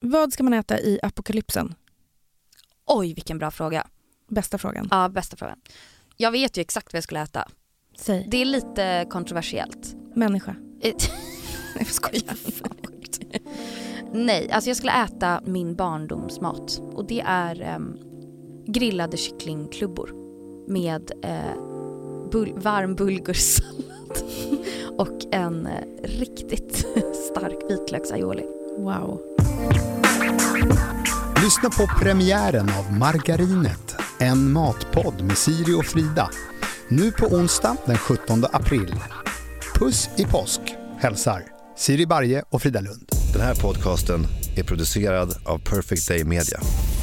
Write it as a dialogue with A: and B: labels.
A: Vad ska man äta i apokalypsen?
B: Oj, vilken bra fråga.
A: Bästa frågan.
B: Ja, bästa frågan. Jag vet ju exakt vad jag skulle äta.
A: Säg.
B: Det är lite kontroversiellt.
A: Människa.
B: Eh,
A: Nej, jag skojar.
B: Nej, alltså jag skulle äta min barndomsmat. Och det är ehm, grillade kycklingklubbor med eh, bul- varm bulgursallad och en eh, riktigt stark vitlöksaioli.
A: Wow.
C: Lyssna på premiären av Margarinet, en matpodd med Siri och Frida. Nu på onsdag den 17 april. Puss i påsk, hälsar Siri Barje och Frida Lund.
D: Den här podcasten är producerad av Perfect Day Media.